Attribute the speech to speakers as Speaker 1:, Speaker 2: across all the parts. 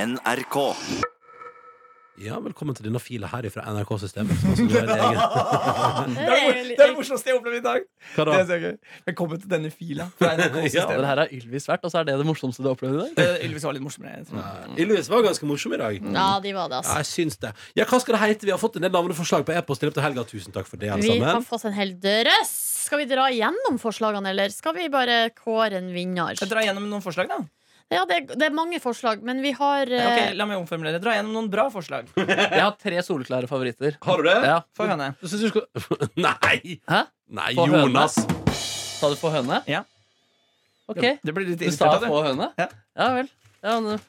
Speaker 1: NRK.
Speaker 2: Ja, velkommen til denne fila her fra NRK-systemet. som altså nå er det egen-
Speaker 3: Det
Speaker 4: Det
Speaker 3: er
Speaker 4: er jo
Speaker 3: det
Speaker 4: litt-
Speaker 3: er det morsomste jeg har opplevd i dag.
Speaker 2: Hva
Speaker 3: Det er
Speaker 2: da?
Speaker 3: så gøy. Velkommen til denne fila. Fra
Speaker 2: Ja,
Speaker 3: NRK-systemet.
Speaker 4: det her er Ylvis verdt, og så er det det morsomste du har opplevd i dag?
Speaker 3: Eh, Ylvis var litt morsommere. Jeg tror.
Speaker 2: Ylvis var ganske morsom i
Speaker 4: Mm.
Speaker 2: dag.
Speaker 3: Ja, de var det,
Speaker 2: Mm. Ja,
Speaker 3: altså.
Speaker 2: jeg syns det. Ja, hva skal det hete? Vi har fått en del navneforslag på e-post i løpet av helga. Tusen takk for det, alle
Speaker 3: Vi
Speaker 2: sammen.
Speaker 3: kan få oss en hel drøss.
Speaker 4: Skal vi dra gjennom forslagene, eller skal vi bare kåre en vinner?
Speaker 3: Dra gjennom noen forslag, da.
Speaker 4: Ja, det, er- det er mange forslag, men vi har
Speaker 3: Ja,
Speaker 4: eh,
Speaker 3: ok, la meg omformulere. Dra gjennom noen bra forslag.
Speaker 5: Jeg har tre soleklare favoritter.
Speaker 2: Har du det?
Speaker 5: Ja,
Speaker 3: Få høne.
Speaker 2: Du synes du skal... Nei!
Speaker 5: Hæ?
Speaker 2: Nei,
Speaker 5: På høna.
Speaker 2: Jonas.
Speaker 5: Sa du få høne?
Speaker 3: Ja.
Speaker 5: Ok,
Speaker 3: Det blir litt
Speaker 5: du sa
Speaker 3: irritert av
Speaker 5: få
Speaker 3: det.
Speaker 5: høne?
Speaker 3: Ja.
Speaker 5: Ja vel. Ja, nå-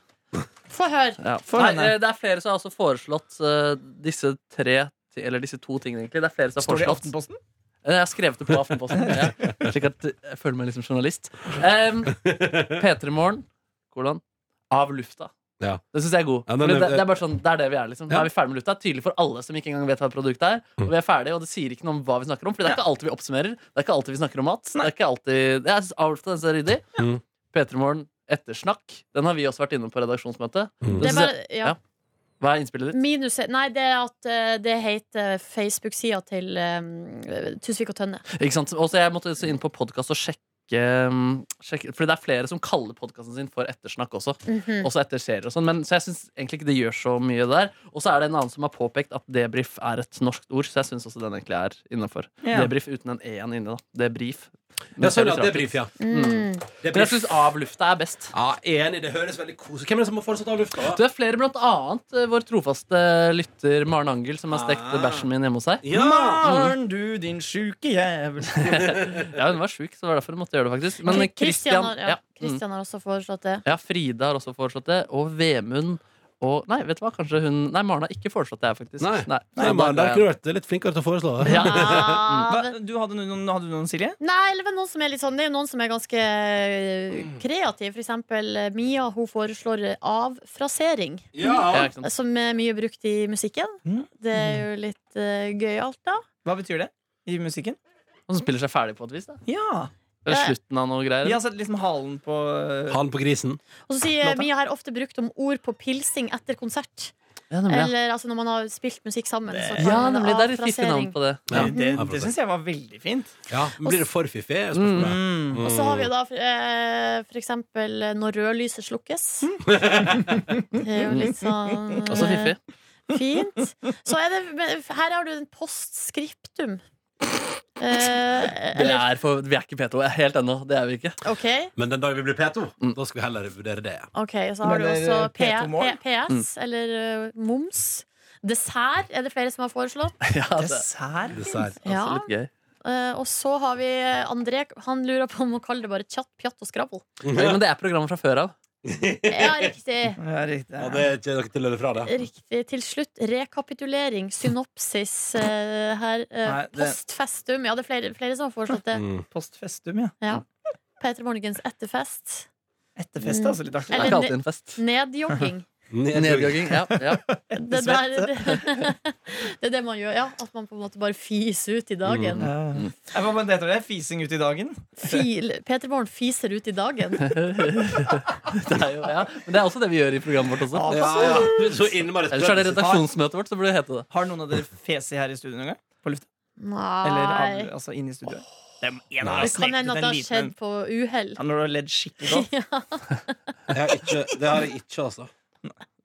Speaker 4: Få høre.
Speaker 5: ja.
Speaker 3: Få
Speaker 5: Nei,
Speaker 3: høne.
Speaker 5: eh, det er flere som har også foreslått eh, disse tre ti- eller disse to tingene, egentlig. Det er flere som har
Speaker 3: Står det i
Speaker 5: foreslått
Speaker 3: Aftenposten?
Speaker 5: Eh, Jeg har skrevet det på Aftenposten. ja. Slik at jeg føler meg litt som journalist. Um, P3 Morgen, hvordan? Av lufta.
Speaker 2: Ja.
Speaker 5: Det syns jeg er god.
Speaker 2: Ja, den
Speaker 5: Fordi
Speaker 2: er-
Speaker 5: det, det er bare sånn, det er det vi er, liksom.
Speaker 2: Ja.
Speaker 5: Da er vi ferdig med lufta. Tydelig for alle som ikke engang vet hva produktet er. Og vi er ferdige, og det sier ikke noe om hva vi snakker om. For det er ikke alltid vi oppsummerer. Det er ikke alltid vi snakker om mat. Det er ikke alltid Jeg synes Av lufta, den ser ryddig.
Speaker 2: Mm.
Speaker 5: P3 Morgen, ettersnakk. Den har vi også vært innom på redaksjonsmøte.
Speaker 2: Mm.
Speaker 4: Det
Speaker 5: synes
Speaker 4: er bare, ja.
Speaker 5: ja. Hva er innspillet ditt?
Speaker 4: Minus Nei, det er at eh, det heter Facebook-sida til eh, Tusvik og Tønne.
Speaker 5: Ikke sant? Og så jeg måtte også inn på podkast og sjekke, um, sjekke Fordi det er flere som kaller podkasten sin for ettersnakk også.
Speaker 4: Mhm.
Speaker 5: Også etter serier og sånn. Men, så jeg syns egentlig ikke det gjør så mye der. Og så er det en annen som har påpekt at debrief er et norsk ord, så jeg syns også den egentlig er innafor.
Speaker 3: Ja.
Speaker 5: Debrief uten en e-en inne, da. Debrief.
Speaker 2: Ja, sånn, ja. Debrief, ja.
Speaker 4: Mm.
Speaker 5: Men jeg
Speaker 2: Debrief.
Speaker 5: syns av lufta er best.
Speaker 2: Ja, enig. Det høres veldig koselig Hvem er det som har fortsatt av lufta?
Speaker 5: Du er flere, blant annet eh, vår trofaste lytter Maren Angel, som har stekt
Speaker 2: Ah.
Speaker 5: bæsjen min hjemme hos seg.
Speaker 2: Ja!
Speaker 3: Maren, du din sjuke jævel.
Speaker 5: Ja, hun var sjuk, så det var derfor hun måtte gjøre det, faktisk. Men eh,
Speaker 4: Kristian
Speaker 5: Christian
Speaker 4: har, ja.
Speaker 5: ja, mm.
Speaker 4: Christian har også foreslått det.
Speaker 5: Ja, Frida har også foreslått det. Og Vemund. Og nei, vet du hva, kanskje hun Nei, Maren har ikke foreslått det, her, faktisk.
Speaker 2: Nei.
Speaker 5: så
Speaker 2: Nei,
Speaker 5: da
Speaker 2: man,
Speaker 5: ga
Speaker 2: der
Speaker 5: jeg-
Speaker 2: kunne du vært litt flinkere til å foreslå det.
Speaker 5: Ja.
Speaker 4: Ja, Ah, men-
Speaker 3: Du hadde, noen, hadde du noen, Silje?
Speaker 4: Nei, eller men noen som er litt sånn Det er jo noen som er ganske eh, kreativ. For eksempel eh, Mia, hun foreslår eh, avfrasering.
Speaker 5: Ja, ikke sant?
Speaker 4: Eh, Som er mye brukt i musikken.
Speaker 3: Mm.
Speaker 4: Det
Speaker 5: Mm-hmm.
Speaker 4: er jo litt uh, gøyalt, da.
Speaker 3: Hva betyr det i musikken?
Speaker 5: Og som spiller seg ferdig på et vis, da.
Speaker 3: Ja.
Speaker 5: Eller
Speaker 4: Ja.
Speaker 5: slutten av noe greier.
Speaker 3: Vi har sett liksom halen på eh,
Speaker 2: Han på grisen.
Speaker 4: Og så sier
Speaker 3: Låta.
Speaker 4: Mia her ofte brukt om ord på pilsing etter konsert.
Speaker 5: Ja, nemlig.
Speaker 4: Eller altså når man har spilt musikk sammen. Så kaller
Speaker 5: Ja,
Speaker 4: man
Speaker 5: nemlig. Det er et fiffig
Speaker 4: avfrasering.
Speaker 5: navn på det.
Speaker 2: Ja,
Speaker 3: Det, det
Speaker 2: avfrasering.
Speaker 3: syns jeg var veldig fint.
Speaker 2: Ja, men Blir det for fiffig? er spørsmålet.
Speaker 3: Mm.
Speaker 4: Og så har vi jo da eh, for eksempel eh, når rødlyset slukkes. Det er jo litt sånn eh,
Speaker 5: Mm. Også fiffig.
Speaker 4: Fint. Så er det, men her har du en postscriptum. Eh,
Speaker 5: Det
Speaker 4: eller,
Speaker 5: er for, vi er ikke P2 helt ennå. Det er vi ikke.
Speaker 4: OK,
Speaker 2: Mm. Men den dagen vi blir P2,
Speaker 4: Mm.
Speaker 2: da skal vi heller vurdere det.
Speaker 4: ok, så har du
Speaker 3: Men,
Speaker 4: også
Speaker 3: eh,
Speaker 4: P
Speaker 3: P2 mål?
Speaker 4: P- PS, eller eh, moms. Dessert er det flere som har foreslått.
Speaker 5: Ja, det
Speaker 3: Dessert?
Speaker 2: Dessert.
Speaker 5: er
Speaker 4: Ja.
Speaker 5: også litt gøy.
Speaker 4: Eh, og så har vi eh, André. Han lurer på om å kalle det bare tjatt, pjatt og skrabbel.
Speaker 5: Nei, Men det er programmet fra før av.
Speaker 4: Ja, riktig.
Speaker 3: Ja, riktig.
Speaker 2: Ja, det er ikke noe til å løpe fra det.
Speaker 4: Riktig. Til slutt rekapitulering, synopsis eh, her. eh,
Speaker 3: Nei, det-
Speaker 4: postfestum. Ja, det er flere, flere som har foreslått det.
Speaker 2: Mm.
Speaker 3: Postfestum, ja.
Speaker 4: Ja. Peter Morgens etterfest.
Speaker 3: Etterfest
Speaker 4: Mm.
Speaker 3: er altså litt
Speaker 5: Det
Speaker 3: artig.
Speaker 5: er
Speaker 4: Eller
Speaker 5: ikke alltid en fest.
Speaker 4: Nedjogging.
Speaker 2: Mm.
Speaker 5: Nedjogging. Ja, ja.
Speaker 4: Det, der,
Speaker 3: Svette.
Speaker 4: det, det er det man gjør, ja. At man på en måte bare fiser ut i dagen.
Speaker 3: Ja. Ja, Hva men det heter det? Fising ut i dagen?
Speaker 4: Fil, Peter Morgen fiser ut i dagen.
Speaker 5: Det er jo, ja. Men det er også det vi gjør i programmet vårt også.
Speaker 2: Ja, ja. Du, Så innmari
Speaker 5: Ellers er det
Speaker 2: spennende.
Speaker 5: redaksjonsmøtet vårt, så burde det hete det.
Speaker 3: Har noen av dere fesi her i studio noen gang? På lufta? Eller av,
Speaker 4: Nei.
Speaker 3: altså inne i studioet? Det, er en av
Speaker 2: Nei.
Speaker 3: dere
Speaker 4: Det kan
Speaker 3: sneket ut
Speaker 4: hende
Speaker 3: en
Speaker 4: at det har
Speaker 3: liten
Speaker 4: skjedd
Speaker 3: en.
Speaker 4: på uhell.
Speaker 3: Ja, når du har ledd skikkelig godt.
Speaker 2: Jeg har ikke, det har jeg ikke, altså.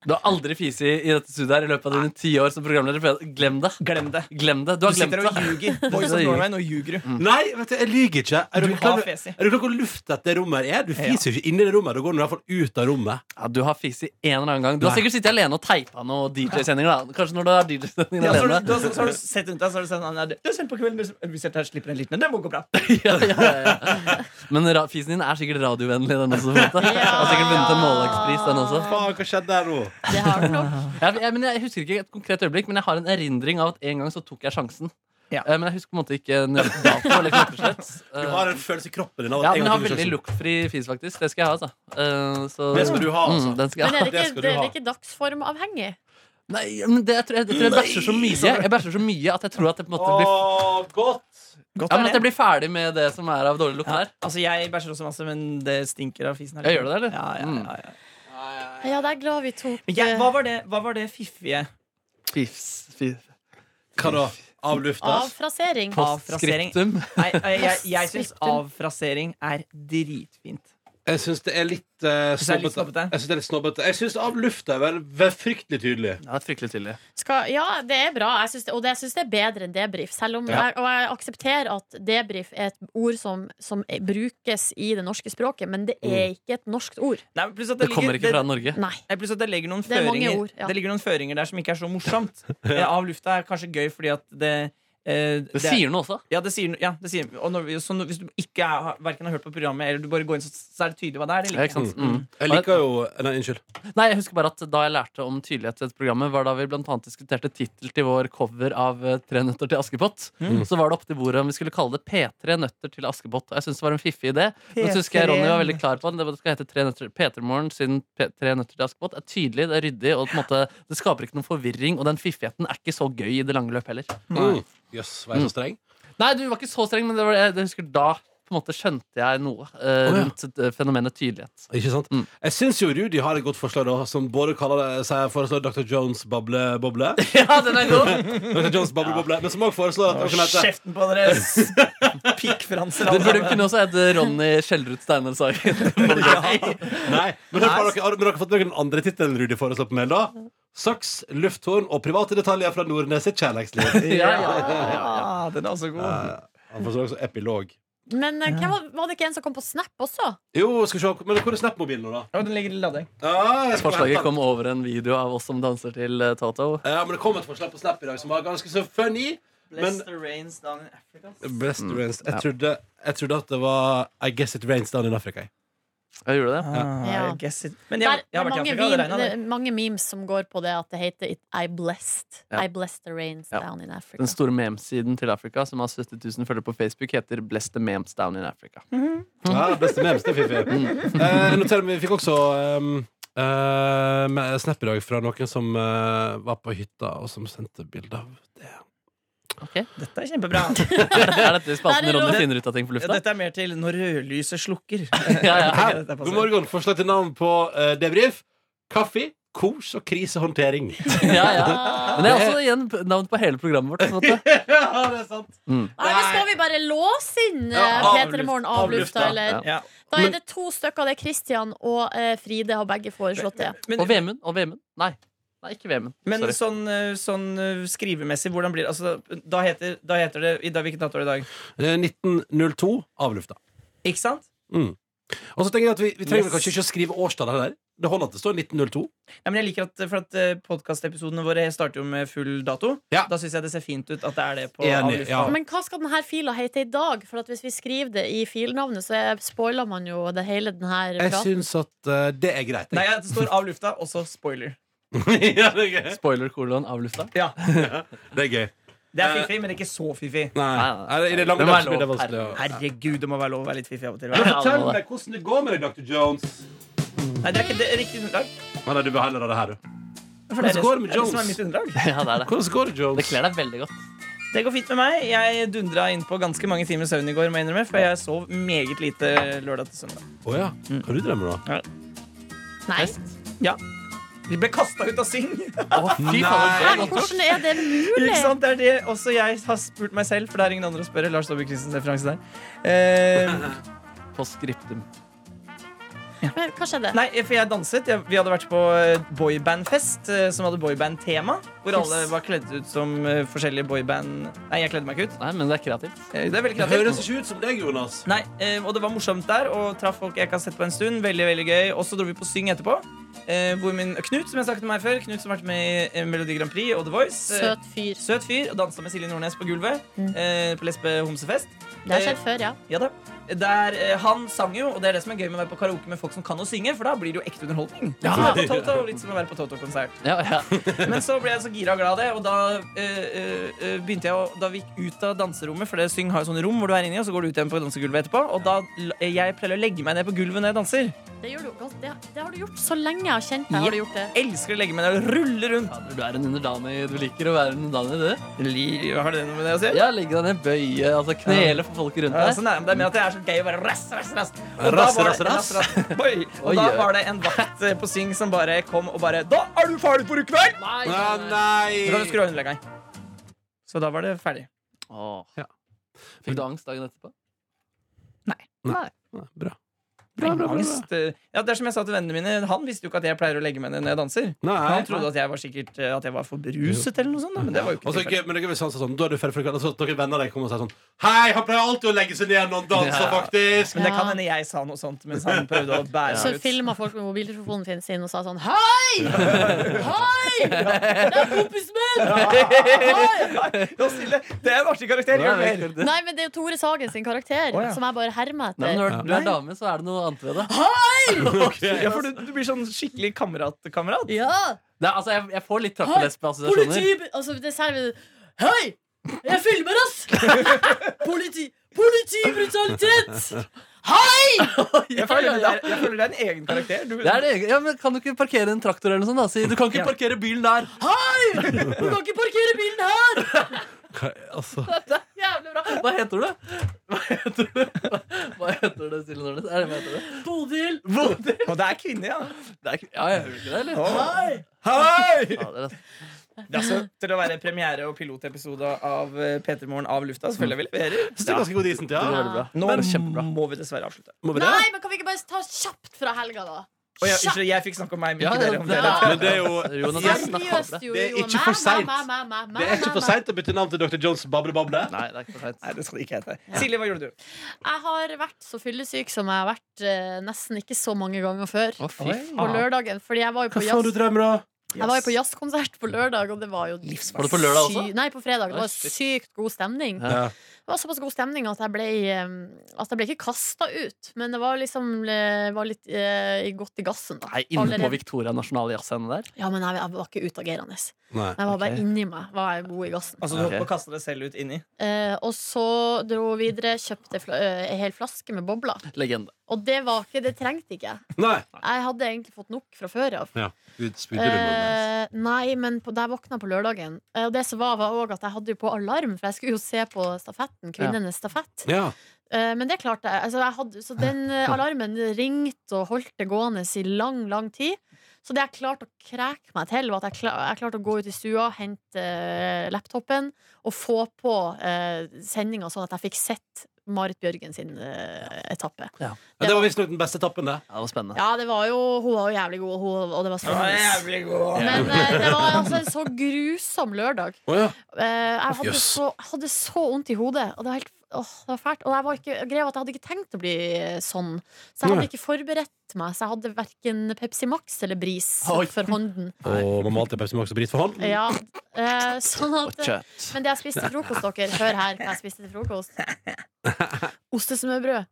Speaker 5: Du har aldri fisi i dette studioet her i løpet av dine ti år som programleder. for Glem det.
Speaker 3: Glem det.
Speaker 5: Glem det. Du
Speaker 3: Du
Speaker 5: har glemt
Speaker 3: sitter og
Speaker 5: det.
Speaker 3: ljuger. Boys of Norway, nå ljuger du.
Speaker 2: Nei, vet du, jeg lyver ikke. Er
Speaker 3: Mm. Du
Speaker 2: du klar
Speaker 3: har
Speaker 2: over-
Speaker 3: fesi.
Speaker 2: er du klar over hvor luftet det rommet her er? Du fiser jo ikke inni det rommet. Du går i hvert fall ut av rommet.
Speaker 5: Ja, du har fisi en eller annen gang. Du har
Speaker 2: Nei.
Speaker 5: sikkert sittet alene og teipa noe DJ-sendinger. da Kanskje når du har DJ-sendinger
Speaker 3: Ja, så, har
Speaker 5: alene.
Speaker 3: du, du, har- så har du sett rundt deg, så har du sett han der, Du har sendt på kvelden, men hvis jeg tar- slipper en liten en. Det må gå bra.
Speaker 5: ja, ja, ja. Men ra fisen din er sikkert radiovennlig, den også. Ja. Har sikkert vunnet en mållagspris, den også.
Speaker 2: Faen, hva skjedde der nå?
Speaker 4: Det har den nok.
Speaker 5: Jeg, jeg, men jeg husker ikke et konkret øyeblikk, men jeg har en erindring av at en gang så tok jeg sjansen.
Speaker 3: Ja.
Speaker 5: Eh, Men jeg husker på en måte ikke nøyaktig dato. Eller klokkeslett.
Speaker 2: Du
Speaker 5: Eh,
Speaker 2: har en følelse i kroppen din av at
Speaker 5: ja,
Speaker 2: en
Speaker 5: men jeg
Speaker 2: gang
Speaker 5: har
Speaker 2: til blir sjansen.
Speaker 5: veldig luktfri fis, faktisk. Det skal jeg ha, altså. Eh, så-
Speaker 2: Det skal du ha, altså.
Speaker 5: Mm, den skal jeg
Speaker 4: Men
Speaker 5: ha.
Speaker 4: er det
Speaker 2: det
Speaker 4: ikke,
Speaker 2: skal du
Speaker 4: det, det
Speaker 2: ha.
Speaker 4: er ikke dagsformavhengig?
Speaker 5: Nei, men det, jeg tror jeg, jeg, tror jeg bæsjer så mye Jeg bæsjer så mye at jeg tror at det på en måte blir
Speaker 2: Åh, godt!
Speaker 3: Godt
Speaker 5: Ja, men
Speaker 3: er
Speaker 5: at jeg blir ferdig med det som er av dårlig lukt
Speaker 3: Ja,
Speaker 5: her.
Speaker 3: altså Jeg bæsjer også masse, men det stinker av fisen. her
Speaker 5: Ja, gjør det det, eller?
Speaker 3: Ja, ja,
Speaker 5: Mm.
Speaker 3: ja, ja.
Speaker 4: Ja, det er glad vi eh, tok
Speaker 3: Men jeg, hva, var det, hva var det fiffige?
Speaker 5: Fifs, fif.
Speaker 2: Hva da? Avlufta?
Speaker 4: avfrasering.
Speaker 3: Avfrasering.
Speaker 5: Skriptum.
Speaker 3: Nei, jeg, jeg, jeg syns
Speaker 4: Sviktum.
Speaker 3: avfrasering er dritfint.
Speaker 2: Jeg syns det er litt eh,
Speaker 3: synes det er litt
Speaker 2: snobbete.
Speaker 3: snobbete.
Speaker 2: Jeg syns det er litt snobbete. Jeg syns avlufta er vel, vel fryktelig tydelig.
Speaker 5: Ja, det er fryktelig tydelig.
Speaker 4: Skal, ja, det er bra, jeg synes det, og det, jeg syns det er bedre enn debrief. Selv om
Speaker 2: Ja.
Speaker 4: jeg, og jeg aksepterer at debrief er et ord som, som brukes i det norske språket, men det
Speaker 3: Mm.
Speaker 4: er ikke et norsk ord.
Speaker 3: Nei, men pluss at
Speaker 5: Det
Speaker 3: det,
Speaker 5: kommer ikke
Speaker 3: ligger, det,
Speaker 5: fra Norge.
Speaker 4: Nei.
Speaker 3: Nei, pluss at det legger noen
Speaker 4: Det er mange
Speaker 3: føringer
Speaker 4: ord, ja.
Speaker 3: Det ligger noen føringer der som ikke er så morsomt. Eh, Av lufta er kanskje gøy fordi at det eh,
Speaker 5: Det sier noe også.
Speaker 3: Ja, det sier, no- ja, det sier og når, vi- så når, Hvis du ikke er, hverken har hørt på programmet, eller du bare går inn, så, så er det tydelig hva det er. Det
Speaker 5: Ja, ikke
Speaker 3: liker.
Speaker 5: sant? Mm.
Speaker 2: Jeg liker jo Nei, unnskyld.
Speaker 5: Nei, jeg husker bare at Da jeg lærte om tydelighet i dette programmet, var da vi blant annet diskuterte tittel til vår cover av eh, Tre nøtter til Askepott. Så var det opp til bordet om vi skulle kalle det P3 nøtter til Askepott. Og jeg synes det var en fiffig idé. Men så husker jeg Ronny var veldig klar på den. Det skal hete Tre nøtter P3-morgen siden P3 nøtter til Askepott. Det er tydelig, det er ryddig, og på en måte, det skaper ikke noen forvirring. Og den fiffigheten er ikke så gøy i det lange løp heller.
Speaker 2: Mm. Jøss, var jeg så streng?
Speaker 5: Nei, du var ikke så streng, men det var det, jeg husker da på en måte skjønte jeg noe eh,
Speaker 2: Å, ja.
Speaker 5: rundt eh, fenomenet tydelighet.
Speaker 2: Ikke sant?
Speaker 5: Mm.
Speaker 2: Jeg syns jo Rudi har et godt forslag, da, som både kaller det, sier, foreslår Dr. Jones boble-boble.
Speaker 5: Ja, den er god!
Speaker 2: Dr. Jones boble-boble Men som også foreslår at det kan hete
Speaker 3: Kjeften på dere! altså. s- Pikkfranser. alle
Speaker 5: Den burde
Speaker 3: sammen.
Speaker 5: kunne også hete Ronny Skjellerud Steinar Sagen.
Speaker 2: Nei, men har dere, har dere fått med dere den andre tittelen Rudi foreslår på mail, da? Saks, lufthorn og private detaljer fra Nordnes sitt kjærlighetsliv.
Speaker 5: Ja,
Speaker 3: Ja, den er også god.
Speaker 2: Han foreslår også epilog.
Speaker 4: Men eh, hvem var, var det ikke en som kom på Snap også?
Speaker 2: Jo, skal vi se, men hvor er Snap-mobilen nå, da? Ah,
Speaker 3: Ja, men den ligger i lading.
Speaker 2: Ja, jeg skal hente
Speaker 5: Forslaget
Speaker 2: den.
Speaker 5: kom over en video av oss som danser til eh, Toto.
Speaker 2: Ja, men det kom et forslag på Snap i dag som var ganske så funny. Bless Men-
Speaker 3: the rains down in Africa.
Speaker 4: altså.
Speaker 2: Best rains. Jeg, trodde, jeg trodde at det var I guess it rains down in Africa.
Speaker 5: Jeg gjorde det.
Speaker 3: Ah,
Speaker 4: Ja.
Speaker 3: I guess it. Men
Speaker 4: Det
Speaker 3: jeg,
Speaker 4: er,
Speaker 3: jeg har vært i
Speaker 4: mange,
Speaker 3: Afrika, det
Speaker 4: meme-
Speaker 3: regnet,
Speaker 4: det
Speaker 3: det.
Speaker 4: er mange memes som går på det at det heter it, I blessed.
Speaker 5: Ja.
Speaker 4: I blessed the rains
Speaker 5: Ja.
Speaker 4: down in Africa.
Speaker 5: Den store memesiden til Afrika, som har 70 000 følgere på Facebook, heter Bless the Memes Down in Africa.
Speaker 2: Ja, beste memes, det er fiffig. Eh, noterer vi, vi fikk også ehm, eh, med Snap i dag fra noen som eh, var på hytta, og som sendte bilde av det.
Speaker 3: Dette er kjempebra.
Speaker 5: Er dette i spalten
Speaker 4: Der er
Speaker 5: Ronny
Speaker 4: Ronny.
Speaker 5: finner ut av ting
Speaker 3: Ja,
Speaker 5: på lufta?
Speaker 3: dette er mer til når rødlyset slukker.
Speaker 5: Ja, ja.
Speaker 3: Dette
Speaker 2: Her,
Speaker 3: passer.
Speaker 2: god morgen. Forslag til navn på uh, debrief. Kaffe, kos og krisehåndtering.
Speaker 5: Ja, ja.
Speaker 4: Ah.
Speaker 5: Men det er også igjen p- navn på hele programmet vårt. på en måte.
Speaker 2: ja, det er sant.
Speaker 4: Nei, men skal vi bare låse inn eh,
Speaker 2: Ja,
Speaker 4: P3 Morgen
Speaker 2: avluft-
Speaker 4: avlufta,
Speaker 2: avlufta.
Speaker 4: eller?
Speaker 5: Ja.
Speaker 3: Ja.
Speaker 4: Da er det to stykker. Det er Christian og eh, Fride har begge foreslått det.
Speaker 5: Og
Speaker 3: Men,
Speaker 5: Vemund. Og Vemund. Nei. Nei, ikke Vemund.
Speaker 3: men
Speaker 5: Sorry.
Speaker 3: sånn, eh, sånn eh, skrivemessig, hvordan blir det? Altså, da, heter, da heter det i dag, Hvilket dato er det i dag?
Speaker 2: Eh, 1902. Avlufta.
Speaker 3: Ikke sant?
Speaker 2: Og så tenker jeg at Vi, vi trenger
Speaker 3: Yes.
Speaker 2: kanskje ikke å skrive årstallet der. Det holder at det står 1902.
Speaker 3: Ja, men jeg liker at, for at eh, podcastepisodene våre starter jo med full dato.
Speaker 2: Ja.
Speaker 3: Da syns jeg det ser fint ut at det er det på
Speaker 2: Enig,
Speaker 3: avlufta.
Speaker 2: ja.
Speaker 4: Men hva skal denne fila hete i dag? For at hvis vi skriver det i filnavnet, så er- spoiler man jo det hele denne
Speaker 2: Jeg
Speaker 4: praten.
Speaker 2: syns at eh, det er greit.
Speaker 3: Nei, ja, det står av lufta, og så spoiler.
Speaker 2: ja, det, er gøy.
Speaker 5: Spoiler kolon av lufta.
Speaker 3: Ja,
Speaker 2: det er gøy.
Speaker 3: Det er fiffig, men ikke så fiffig.
Speaker 2: Nei,
Speaker 5: nei,
Speaker 2: nei, i det lange
Speaker 5: Det må være
Speaker 2: løp blir det
Speaker 5: lov.
Speaker 2: vanskelig å
Speaker 3: Herregud, det må være lov å være litt fiffig av og til.
Speaker 5: Ja.
Speaker 3: hva?
Speaker 5: Fortell meg
Speaker 2: hvordan det går med deg, Dr. Jones.
Speaker 3: Nei, det er ikke det er riktig underlag.
Speaker 2: Nei, nei, du bør heller ha det her, du.
Speaker 3: For det er
Speaker 2: Hvordan
Speaker 3: det,
Speaker 2: går det med
Speaker 3: det er det som er
Speaker 2: Jones?
Speaker 3: mitt underlag.
Speaker 5: Ja, det er det.
Speaker 2: Hvordan går det,
Speaker 5: Det
Speaker 2: Jones?
Speaker 5: kler deg veldig godt.
Speaker 3: Det går fint med meg. Jeg dundra inn på ganske mange timer søvn i går, må jeg innrømme, for jeg sov meget lite lørdag til søndag.
Speaker 2: Å ja. Hva du drømmer da?
Speaker 4: Nei.
Speaker 3: Ja. Vi ble kasta ut av Syng!
Speaker 5: Å, fy
Speaker 4: Nei,
Speaker 5: faen, det er godt gjort.
Speaker 4: Hvordan er det
Speaker 3: Ikke
Speaker 4: mulig?
Speaker 3: sant? Det er det også jeg har spurt meg selv, for det er ingen andre å spørre. Lars Saabye Christensens referanse der. Eh,
Speaker 5: På skriptum.
Speaker 4: Men Hva skjedde?
Speaker 3: Nei, for jeg danset. Jeg, vi hadde vært på eh, boybandfest, eh, som hadde boyband-tema. Hvor alle
Speaker 4: Yes.
Speaker 3: var kledd ut som eh, forskjellige boyband Nei, jeg kledde meg ikke ut.
Speaker 5: Nei, men det er kreativt.
Speaker 3: Eh, Det er veldig
Speaker 2: Det høres
Speaker 3: kreativt.
Speaker 2: ikke ut som deg, Jonas.
Speaker 3: Nei, eh, og det var morsomt der, og traff folk jeg ikke har sett på en stund. Veldig, veldig gøy. Og så dro vi på Syng etterpå. eh, Hvor min Knut, som jeg snakket om her før, Knut som har vært med i eh, Melodi Grand Prix og The Voice. eh,
Speaker 4: Søt fyr.
Speaker 3: Søt fyr. Og dansa med Silje Nordnes på gulvet
Speaker 2: Mm.
Speaker 3: eh, på Lesbe homsefest.
Speaker 4: Det har skjedd før, ja.
Speaker 3: Ja da. Der, eh, han sang jo, og det er det som er gøy med å være på karaoke med folk som kan å synge, for da blir det jo ekte underholdning.
Speaker 5: Ja.
Speaker 3: Som å være på Toto, litt som å være på Toto-konsert.
Speaker 5: Ja, ja.
Speaker 3: Men så ble jeg så gira og glad av det, og da eh, eh, eh, begynte jeg å Da vi gikk ut av danserommet, for det syng har jo sånne rom hvor du er inni, og så går du ut igjen på dansegulvet etterpå, og da l- eh, Jeg pleier å legge meg ned på gulvet når jeg danser.
Speaker 4: Det, gjør du, godt. det, det har du gjort så lenge jeg har kjent deg. Har du gjort det?
Speaker 3: Elsker å legge meg ned og rulle rundt.
Speaker 5: Fader, Du er en underdanig. Du liker å være en underdanig, du.
Speaker 3: Li- Har det noe med det å si?
Speaker 5: Ja, legge deg ned, bøye, altså knele for folk rundt
Speaker 3: Ja,
Speaker 5: deg.
Speaker 3: sånn er det, men det er mer at det er så gøy å bare rass, rass, rass. Og
Speaker 2: Rass,
Speaker 3: da var
Speaker 2: rass,
Speaker 3: det-
Speaker 2: rass.
Speaker 3: Oi. Og
Speaker 5: Oi,
Speaker 3: da
Speaker 5: ja.
Speaker 3: var det en vakt eh, på Syng som bare kom og bare Da er du ferdig for i kveld!
Speaker 2: Ah,
Speaker 3: Så kan du skru
Speaker 2: nei!
Speaker 3: av underleggeren. Så da var det ferdig.
Speaker 5: Åh.
Speaker 2: Ja.
Speaker 5: Fikk du angst dagen etterpå?
Speaker 2: Nei, Bra. Bra, bra, bra, bra.
Speaker 3: Angst, eh, Ja, det er som jeg sa til vennene mine, han visste jo ikke at jeg pleier å legge meg ned når jeg danser. Han
Speaker 2: Nei.
Speaker 3: trodde at jeg var sikkert eh, At jeg var for beruset eller noe sånt, da, men det var jo ikke
Speaker 2: Og så
Speaker 3: tilfellet.
Speaker 2: ikke- men det er ikke sånn, sånn, da er du ferdig for i kveld. Og så noen venner av deg kommer og sier sånn Hei, han pleier alltid å legge seg ned når han danser,
Speaker 5: Ja.
Speaker 2: faktisk!
Speaker 3: Men det
Speaker 4: Ja.
Speaker 3: kan hende jeg sa noe sånt mens han prøvde å bære
Speaker 4: Så
Speaker 3: meg ut.
Speaker 4: filma folk med mobiltelefonen sin, sin og sa sånn Hei! Hei! Det er kompisen min! Hei!
Speaker 3: Ja, Silje, Det er en artig karakter. Gjør mer.
Speaker 5: Nei,
Speaker 4: Nei, men det er jo Tore Sagen sin karakter,
Speaker 3: Å, ja.
Speaker 4: som jeg bare hermer
Speaker 5: men
Speaker 4: etter.
Speaker 5: når du er dame, så er det noe annet ved det.
Speaker 3: Ja, for du, du blir sånn skikkelig kamerat-kamerat.
Speaker 4: Ja!
Speaker 5: det er, altså, jeg, jeg får litt
Speaker 4: Hei,
Speaker 5: trappelesbeassosiasjoner.
Speaker 4: Politi! Altså, det er særlig Hei! Jeg filmer, ass! Politi! Politibrutalitet! Hei!
Speaker 3: Jeg føler det er, jeg føler det er en egen karakter. Du,
Speaker 5: Det er det, egen- ja, men kan du ikke parkere en traktor eller noe sånt? Da? Si, du kan ikke
Speaker 3: Ja.
Speaker 5: parkere bilen der!
Speaker 4: Hei! Du kan ikke parkere bilen her!
Speaker 2: Hva- Altså,
Speaker 4: Jævlig bra.
Speaker 5: Hva heter du? Hva heter du? Hva heter du, Silje Nordnes? Er det hva heter du?
Speaker 4: Bodil!
Speaker 5: Bodil?
Speaker 3: Og det er kvinne, ja.
Speaker 5: Det er ikke, ja, jeg hører ikke det, eller?
Speaker 4: Hei!
Speaker 3: Hei!
Speaker 5: Ja, det er,
Speaker 3: Det er altså til å være premiere og pilotepisode av eh, P3 Morgen av lufta. Selvfølgelig jeg leverer.
Speaker 2: så det er ganske god decent,
Speaker 5: det
Speaker 2: ja.
Speaker 5: er veldig bra.
Speaker 3: Nå
Speaker 5: Men kjempebra.
Speaker 3: må vi dessverre avslutte.
Speaker 2: Må vi det?
Speaker 4: Nei, men kan vi ikke bare ta kjapt fra helga, da?
Speaker 3: Og jeg, unnskyld, jeg fikk snakke om meg, men
Speaker 5: Ja,
Speaker 3: ikke
Speaker 5: ja,
Speaker 3: dere. om
Speaker 5: det er-
Speaker 3: dere.
Speaker 2: Men det er jo
Speaker 5: Jonas, jeg snakker om
Speaker 4: Seriøst,
Speaker 5: det.
Speaker 4: jo, jo.
Speaker 2: Det er ikke for sent. Det er ikke for seint å bytte navn til Dr. Jones Bable Bable.
Speaker 5: Nei, det er ikke for seint.
Speaker 3: Nei, det skal det ikke hete. Silje, hva gjorde du?
Speaker 4: Jeg har vært så fyllesyk som jeg har vært eh, nesten ikke så mange ganger før.
Speaker 5: Å, fy
Speaker 3: Oi.
Speaker 4: På
Speaker 5: faen.
Speaker 4: lørdagen. Fordi jeg var jo på jazz.
Speaker 2: drømmer om?
Speaker 4: Jeg var jo på jazzkonsert på lørdag, og det var jo
Speaker 5: Var det på lørdag også?
Speaker 4: Sy- Nei, på fredag. Det
Speaker 5: Oi,
Speaker 4: var
Speaker 5: shit.
Speaker 4: sykt god stemning.
Speaker 5: Ja.
Speaker 4: Det var såpass god stemning at jeg ble, eh, at jeg ble ikke kasta ut. Men det var liksom eh, var litt eh, godt i gassen, da.
Speaker 5: Nei, inne på
Speaker 4: Allerede.
Speaker 5: Victoria Nasjonale Jazzscene der?
Speaker 4: Ja, men jeg, jeg var ikke utagerende.
Speaker 2: Nei.
Speaker 4: Jeg var bare
Speaker 5: Ok.
Speaker 4: inni meg. Var jeg god i gassen.
Speaker 3: Altså, du
Speaker 5: Ok.
Speaker 3: holdt på å kaste deg selv ut inni.
Speaker 4: Eh, og så dro vi videre, kjøpte fla- eh, ei hel flaske med bobler.
Speaker 5: Legende.
Speaker 4: Og det var ikke, det trengte ikke jeg.
Speaker 2: Nei.
Speaker 4: Jeg hadde egentlig fått nok fra før av.
Speaker 2: Ja. Ut- spydde du noe?
Speaker 4: Eh, nei, men på, da jeg våkna på lørdagen eh, Og det som var, var også at jeg hadde jo på alarm, for jeg skulle jo se på stafetten. Kvinnenes stafett.
Speaker 2: Ja.
Speaker 4: Eh, men det klarte jeg. Altså, jeg hadde, så den eh, alarmen ringte og holdt det gående i lang, lang tid. Så det jeg klarte å kreke meg til, var at jeg, kla- jeg klarte å gå ut i stua, hente eh, laptopen og få på eh, sendinga sånn at jeg fikk sett Marit Bjørgen sin eh, etappe.
Speaker 2: Ja, det var visstnok den beste etappen, det.
Speaker 5: Ja, det var spennende.
Speaker 4: Ja, det var jo, hun var jo jævlig god, hun, og det var
Speaker 3: Å,
Speaker 4: spennende.
Speaker 3: jævlig god.
Speaker 4: Men eh, det var altså en så grusom lørdag.
Speaker 2: Oh, ja.
Speaker 4: Eh, jeg hadde,
Speaker 2: Jøss.
Speaker 4: så, jeg hadde så vondt i hodet, og det var helt åh, det var fælt. Og jeg, var ikke, greia var at jeg hadde ikke tenkt å bli eh, sånn, så jeg
Speaker 2: Nei.
Speaker 4: hadde ikke forberedt meg. Så jeg hadde verken Pepsi Max eller Bris
Speaker 5: Oi.
Speaker 4: for hånden.
Speaker 2: Og man må alltid ha Pepsi Max og bris for hånd.
Speaker 4: Ja, eh, sånn
Speaker 5: Og
Speaker 4: at
Speaker 5: kjøtt.
Speaker 4: Men det jeg spiste til frokost, dere, hør her hva jeg spiste til frokost. Ostesmørbrød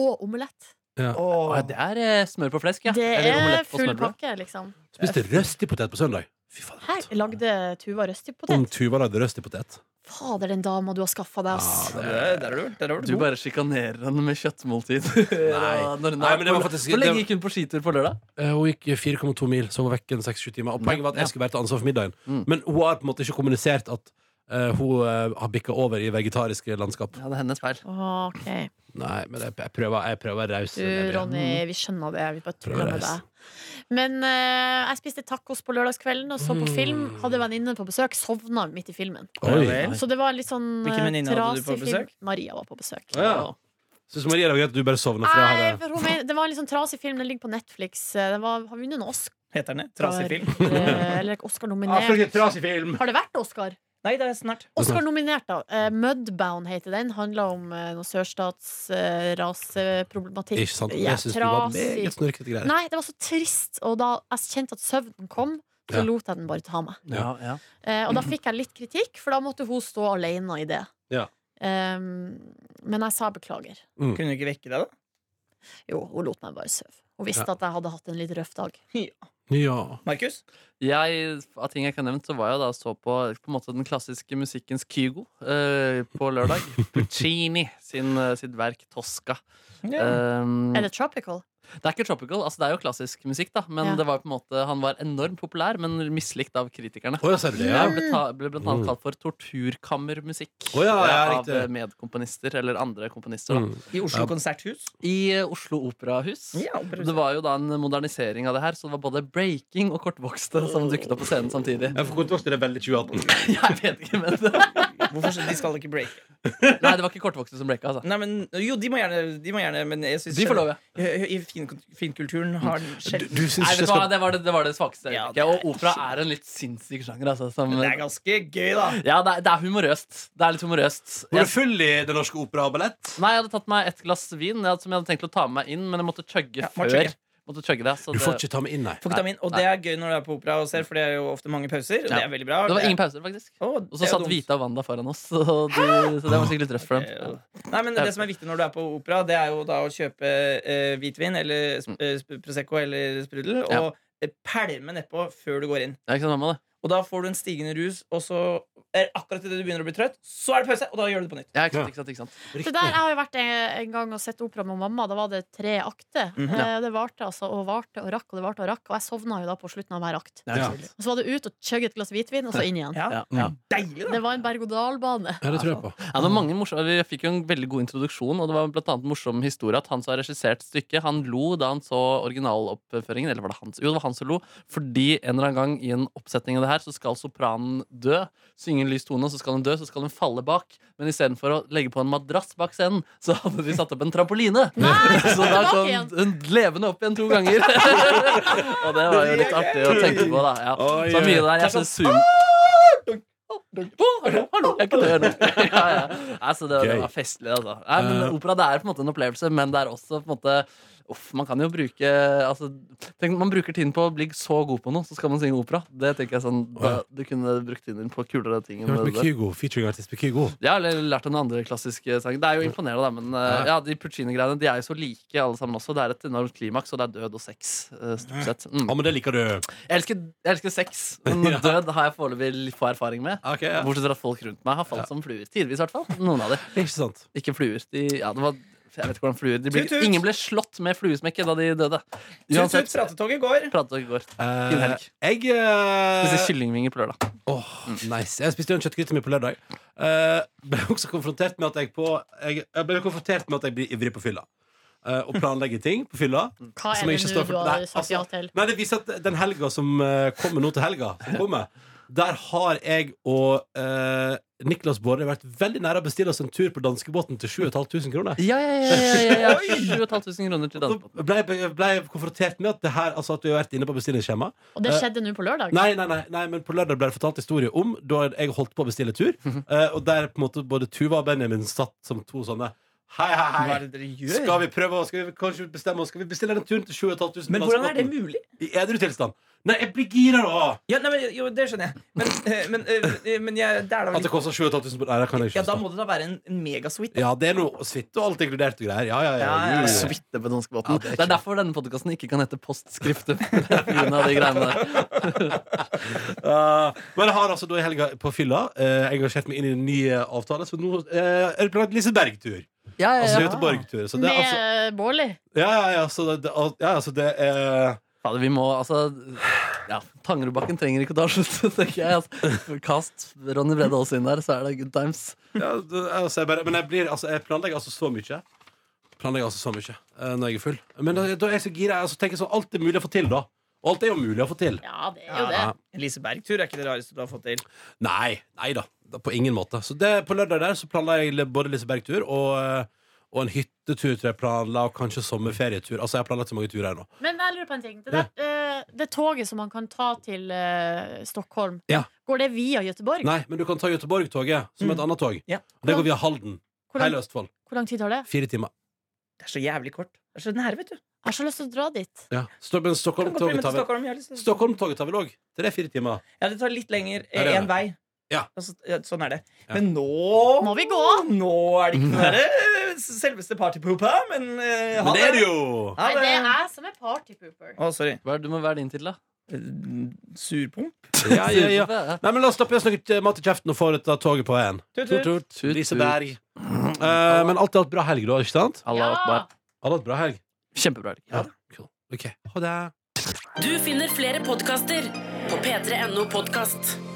Speaker 4: og omelett.
Speaker 5: Å, ja, det er eh, smør på flesk, ja.
Speaker 4: Det
Speaker 5: Eller
Speaker 4: er
Speaker 5: omelett på
Speaker 4: full
Speaker 5: smørbrød.
Speaker 4: pakke, liksom.
Speaker 2: Spiste røstipotet på søndag. Fy
Speaker 4: Her
Speaker 2: fader.
Speaker 4: lagde Tuva
Speaker 5: Mm.
Speaker 2: Om
Speaker 4: røstipotet.
Speaker 2: Tuva lagde røstipotet.
Speaker 4: Fader, den dama du har skaffa deg,
Speaker 5: Ah,
Speaker 4: ass.
Speaker 2: Ja,
Speaker 3: Der har du vært. Der har du
Speaker 5: Du
Speaker 3: vært.
Speaker 5: bare sjikanerer henne med kjøttmåltider. Ja, når hun er
Speaker 2: Nei, men det var
Speaker 5: på-
Speaker 2: faktisk-
Speaker 5: Hvor
Speaker 2: det-
Speaker 5: lenge gikk hun på skitur på lørdag?
Speaker 2: Eh, Hun gikk 4,2 mil, så hun var vekk en 6-7 timer. Og poenget var at
Speaker 5: Ja.
Speaker 2: jeg skulle være til ansvar for middagen.
Speaker 5: Mm.
Speaker 2: Men hun har på en måte ikke kommunisert at eh, hun eh, har bikka over i vegetariske landskap.
Speaker 5: Ja, det er hennes feil.
Speaker 4: Ok,
Speaker 2: Nei, men jeg, jeg prøver jeg prøver å være raus.
Speaker 4: du
Speaker 2: Mm.
Speaker 4: Ronny, vi skjønner det. Vi bare
Speaker 2: Prøver
Speaker 4: tuller
Speaker 2: å
Speaker 4: med
Speaker 2: reise.
Speaker 4: deg. Men eh, jeg spiste tacos på lørdagskvelden og så på
Speaker 2: Mm.
Speaker 4: film. Hadde venninne på besøk, sovna midt i filmen.
Speaker 2: Oi.
Speaker 3: Ja vel.
Speaker 4: Så det var en litt sånn eh,
Speaker 3: Hvilken venninne hadde du
Speaker 4: trasig
Speaker 3: på
Speaker 4: film.
Speaker 3: besøk?
Speaker 4: Maria var på besøk.
Speaker 2: Ja. Syns Maria det var greit at du bare sovna? for jeg eh,
Speaker 4: Nei,
Speaker 2: hadde-
Speaker 4: for hun mener, det var en litt sånn trasig film. Den ligger på Netflix. Eh, Den var, har vunnet en Oscar.
Speaker 3: Heter den det? Trasig film?
Speaker 4: eh, Eller
Speaker 2: Ah, for
Speaker 4: Oscar-nominert.
Speaker 2: en trasig film!
Speaker 4: Har det vært Oscar?
Speaker 3: Nei, det er snart.
Speaker 4: Oscar-nominert, da. Eh, Mudbound heter den. Handler om eh, noe sørstatsraseproblematikk.
Speaker 2: Ikke sant?
Speaker 4: ja,
Speaker 2: Jeg syns du var
Speaker 4: trasig.
Speaker 2: meget snørkete greier.
Speaker 4: Nei, det var så trist, og da jeg kjente at søvnen kom, så
Speaker 2: Ja.
Speaker 4: lot jeg den bare ta meg.
Speaker 5: Ja, ja.
Speaker 4: Eh, og da fikk jeg litt kritikk, for da måtte hun stå alene i det.
Speaker 2: Ja.
Speaker 4: Ehm, men jeg sa beklager.
Speaker 3: Kunne du ikke vekke deg, da?
Speaker 4: Jo, hun lot meg bare sove. Hun visste
Speaker 2: Ja.
Speaker 4: at jeg hadde hatt en litt røff dag.
Speaker 2: Ja.
Speaker 3: Markus?
Speaker 5: Jeg, av ting jeg ikke har nevnt, så var jeg da og så på, på en måte den klassiske musikkens Kygo eh, på lørdag. Puccini sin, eh, sitt verk Tosca.
Speaker 3: Ja.
Speaker 5: Um,
Speaker 2: Mm.
Speaker 4: Er det tropical?
Speaker 5: Det er ikke tropical, altså det er jo klassisk musikk, da. Men
Speaker 4: Ja.
Speaker 5: det var på en måte, han var enormt populær, men mislikt av kritikerne.
Speaker 2: Å ja, ser du det?
Speaker 5: Ja,
Speaker 2: Ja.
Speaker 5: ble, ta, ble blant
Speaker 2: Mm.
Speaker 5: annet kalt for torturkammermusikk
Speaker 2: Å ja, ja,
Speaker 5: eh, av
Speaker 2: riktig.
Speaker 5: eh, medkomponister eller andre komponister. Da.
Speaker 2: Mm.
Speaker 3: I Oslo
Speaker 2: Ja.
Speaker 3: konserthus.
Speaker 5: I eh, Oslo Operahus.
Speaker 3: Ja,
Speaker 5: Det var jo da en modernisering av det her, så det var både breaking og kortvokste som dukket opp på scenen samtidig.
Speaker 2: Jeg får kontakt til det veldig 2018.
Speaker 5: Jeg vet ikke, men
Speaker 3: Hvorfor skal- de skal ikke breake?
Speaker 5: Nei, det var ikke kortvokste som breaka, altså.
Speaker 3: Nei, men, jo, de må gjerne, de må gjerne men jeg synes
Speaker 5: De får lov, ja.
Speaker 3: I finkulturen fin finkulturen har den
Speaker 2: Du,
Speaker 3: sjelden
Speaker 2: du syns
Speaker 5: Nei,
Speaker 2: ikke
Speaker 5: vet
Speaker 2: jeg
Speaker 5: du hva,
Speaker 2: skal
Speaker 5: det var det, det, var det svakeste.
Speaker 3: Ja,
Speaker 5: øyeblikket, og opera er en litt sinnssyk sjanger, altså. Som,
Speaker 3: Det er
Speaker 5: ja,
Speaker 3: ganske gøy, da.
Speaker 5: det er, det er humorøst. Det er litt humorøst.
Speaker 2: Var
Speaker 5: Jeg,
Speaker 2: du full i Det Norske Opera og Ballett?
Speaker 5: nei, jeg hadde tatt meg et glass vin jeg hadde, som jeg hadde tenkt å ta med meg inn, men jeg måtte chugge
Speaker 3: Ja, må
Speaker 5: før.
Speaker 3: chugge.
Speaker 5: Måtte chugge det,
Speaker 2: Du
Speaker 5: så det,
Speaker 2: får ikke ta meg inn, nei.
Speaker 3: Får ikke ta min, og det er gøy når du er på opera og ser, for det er jo ofte mange pauser. Og
Speaker 5: Ja.
Speaker 3: det er veldig bra.
Speaker 5: det var ingen pauser, faktisk.
Speaker 3: Å, det
Speaker 5: Og så
Speaker 3: er jo
Speaker 5: satt
Speaker 3: dumt.
Speaker 5: Vita og Wanda foran oss, så, de, så det var sikkert litt røft for
Speaker 3: Eh,
Speaker 5: dem.
Speaker 3: Nei, men Det som er viktig når du er på opera, Det er jo da å kjøpe eh, hvitvin eller sp eh, sp- Prosecco eller sprudel og
Speaker 5: Mm. Ja.
Speaker 3: eh, pælme nedpå før du går inn.
Speaker 5: Det er ikke sånn mamma, det.
Speaker 3: Og Da får du en stigende rus, og så er akkurat idet du begynner å bli trøtt, så er det pause, og da gjør du det på nytt.
Speaker 5: Ja, ikke
Speaker 2: Ja.
Speaker 5: sant, ikke sant, ikke sant.
Speaker 4: Det der, Jeg har jo vært en, en gang og sett opera med mamma. Da var det tre akter.
Speaker 3: Mhm.
Speaker 4: Eh, Det varte altså og varte og rakk, og det varte og rakk. Og jeg sovna jo da på slutten av hver akt.
Speaker 2: Ja. Ja,
Speaker 4: Og så var det ut og chugge et glass hvitvin, og så inn igjen.
Speaker 3: Ja,
Speaker 5: Ja, ja.
Speaker 3: Deilig, da!
Speaker 4: Det var en berg-og-dal-bane.
Speaker 2: det tror jeg på.
Speaker 5: Ja, det var mange morsomme, vi fikk jo en veldig god introduksjon, og det var blant annet en morsom historie at han som har regissert stykket, han lo da han så originaloppføringen, eller var det han? Jo, det var han som lo, fordi en eller annen gang i en oppsetning av det her, så skal sopranen dø, synge en lys tone, så skal hun dø, så skal hun falle bak, men i stedet for å legge på en madrass bak scenen, så hadde de satt opp en trampoline. Så da
Speaker 4: Tilbake
Speaker 5: kom
Speaker 4: igjen.
Speaker 5: hun levende opp igjen to ganger. og det var jo litt artig å tenke på, da. Ja.
Speaker 2: Oi,
Speaker 5: Så mye der, jeg synes zoom... Hallo, hallo, jeg er ikke dør nå. Ja, ja. Altså, det, det
Speaker 2: Gøy.
Speaker 5: var festlig, altså. Nei, men opera det er på en måte en opplevelse, men det er også på en måte Uff, man kan jo bruke altså, tenk, Man bruker tiden på å bli så god på noe, så skal man synge opera. Det tenker jeg sånn da, Du kunne brukt tiden din på kulere ting.
Speaker 2: Jeg
Speaker 5: enn
Speaker 2: har vært med
Speaker 5: det der.
Speaker 2: Kygo, featuring-artist med Kygo.
Speaker 5: Ja, eller lært den andre klassiske sangen. Det er jo imponerende, da, men eh, ja, de Puccini-greiene De er jo så like, alle sammen også. Det er et enormt klimaks, og det er død og sex, eh, stort sett. Mm.
Speaker 2: Ja, men det liker du.
Speaker 5: Jeg elsker, jeg elsker sex, men død har jeg foreløpig litt få erfaring med.
Speaker 2: Ok, ja.
Speaker 5: Bortsett fra at folk rundt meg har falt som fluer. Tidvis, i hvert fall. Noen av dem.
Speaker 2: Ikke sant?
Speaker 5: Ikke fluer. De, ja, det var, jeg vet ikke hvordan fluer de ble,
Speaker 3: Tut, tut.
Speaker 5: Ingen ble slått med fluesmekket da de døde.
Speaker 3: Tut, tut, pratetoget går.
Speaker 5: pratet og går.
Speaker 2: Eh,
Speaker 5: Fin helg.
Speaker 2: jeg eh,
Speaker 5: Spiste kyllingvinger på lørdag.
Speaker 2: Åh, nice Jeg spiste jo en kjøttgryte mi på lørdag. Eh, ble også konfrontert med at jeg på Jeg, jeg ble konfrontert med at jeg blir ivrig på fylla. Eh, og planlegger ting på fylla.
Speaker 4: Hva er
Speaker 2: Som jeg
Speaker 4: det
Speaker 2: ikke
Speaker 4: nå
Speaker 2: står
Speaker 4: du
Speaker 2: for. Nei,
Speaker 4: har sagt
Speaker 2: altså,
Speaker 4: ja til?
Speaker 2: Nei, det viser at den helga som eh, kommer nå til helga, som kommer, der har jeg og eh, Niklas Bård vært veldig nære å bestille oss en tur på danskebåten til 7500 kroner.
Speaker 5: Ja, ja, ja. ja, ja, ja. 7500 kroner til
Speaker 2: Så
Speaker 5: danskebåten.
Speaker 2: ble jeg, ble jeg konfrontert med at, det her, altså at vi har vært inne på bestillingsskjema.
Speaker 4: Og det
Speaker 2: Eh,
Speaker 4: skjedde nå på lørdag?
Speaker 2: Nei, nei, nei, nei, men på lørdag ble det fortalt historie om da jeg holdt på å bestille tur.
Speaker 3: Mhm.
Speaker 2: eh, og der på en måte både Tuva og Benjamin satt som to sånne Hei, hei,
Speaker 3: Hva er
Speaker 2: hei.
Speaker 3: det dere gjør?
Speaker 2: Skal vi prøve å- skal vi kanskje bestemme oss? Skal vi bestille den turen til 7500?
Speaker 3: Men hvordan er det mulig?
Speaker 2: I edru tilstand. Nei, jeg blir gira nå!
Speaker 3: Ja, nei, men, jo, det skjønner jeg. Men, eh, men, eh, men jeg, det er da
Speaker 2: At
Speaker 3: vel
Speaker 2: det koster 7500? Nei, det kan jeg ikke
Speaker 3: Ja, da
Speaker 2: forstå.
Speaker 3: må det da være en megasuite.
Speaker 2: Ja, det er noe suite og alt inkludert og greier. Ja, ja, ja.
Speaker 3: Ja, ja, ja.
Speaker 2: Suite.
Speaker 5: Suite på danskebåten.
Speaker 2: Ja, det
Speaker 5: det,
Speaker 2: er
Speaker 5: er derfor denne podkasten ikke kan hete Postskriftet. på grunn av de greiene der.
Speaker 2: Uh, men jeg har altså da i helga på fylla eh, engasjert meg inn i en ny eh, avtale, så nå eh, er det planlagt Liseberg-tur.
Speaker 5: Ja, ja,
Speaker 2: Altså
Speaker 5: ja.
Speaker 2: Göteborg-tur. Så det
Speaker 4: Med
Speaker 2: er altså
Speaker 4: eh, Bårli?
Speaker 2: Ja, ja, ja, så det, det, al- ja, altså det er
Speaker 5: Fader, vi må altså ja, Tangerudbakken trenger ikke å ta slutt, tenker jeg. Altså. Kast Ronny Brede Aas inn der, så er det good times.
Speaker 2: ja, det, altså jeg bare, Men jeg, blir, altså, jeg planlegger altså så mye. Planlegger altså så mye eh, når jeg er full. Men da, da er jeg så gira. Jeg altså, tenker sånn alt er mulig å få til, da. Og alt er jo mulig å få til.
Speaker 4: Ja, det er jo det.
Speaker 2: Ja.
Speaker 3: Liseberg-tur er ikke det rareste du har fått til.
Speaker 2: Nei. Nei da. da på ingen måte. Så det, på lørdag der så planla jeg li- både Liseberg-tur og, eh, og en hyttetur, tror jeg planla, og kanskje sommerferietur. Altså, jeg har planlagt så mange turer her nå.
Speaker 4: Men jeg lurer på en ting. Det, der, eh, det toget som man kan ta til eh, Stockholm,
Speaker 2: Ja.
Speaker 4: går det via Göteborg?
Speaker 2: Nei, men du kan ta Göteborg-toget som et annet tog.
Speaker 3: Mm. Ja.
Speaker 2: Og Det går via Halden.
Speaker 4: Hvor lang,
Speaker 2: Hele Østfold.
Speaker 4: hvor lang tid tar det?
Speaker 2: Fire timer.
Speaker 3: Det er så jævlig kort. Det er så nære, vet du.
Speaker 4: Jeg har så lyst til å dra dit.
Speaker 2: Ja. Sto- Men
Speaker 3: Kan godt bli
Speaker 2: Stockholm-toget
Speaker 3: med til
Speaker 2: tar vel
Speaker 3: Stockholm. Jeg har lyst til-
Speaker 2: Stockholm-toget tar vel òg tre-fire timer.
Speaker 3: Ja, det tar litt lenger
Speaker 2: Ja, det gjør
Speaker 3: én
Speaker 2: det.
Speaker 3: vei.
Speaker 2: Ja.
Speaker 3: Altså, ja, sånn er det.
Speaker 2: Ja.
Speaker 3: Men nå
Speaker 4: Må vi gå?
Speaker 3: Nå er det ikke noe der, selveste partypoopa, men eh, ha
Speaker 2: Men det er det jo!
Speaker 3: Ha
Speaker 4: Nei, det er
Speaker 3: det.
Speaker 4: jeg som er partypooper.
Speaker 3: Å, sorry.
Speaker 5: Hva er det du må være din til, da?
Speaker 3: Eh, Surpomp?
Speaker 2: Ja, ja, ja. Nei, men La oss stappe i oss noe eh, mat i kjeften og få dette toget på veien.
Speaker 3: Tut,
Speaker 2: Tut,
Speaker 3: tut.
Speaker 2: tut.
Speaker 5: Tut, tut.
Speaker 2: Liseberg. Eh, men alt i alt bra helg, da. ikke sant?
Speaker 5: Allah
Speaker 4: Ja.
Speaker 5: akbar.
Speaker 2: Alle hatt bra helg.
Speaker 5: Kjempebra. Erik.
Speaker 2: Ja, cool. OK. Ha det.
Speaker 1: Du finner flere podkaster på p3.no podkast.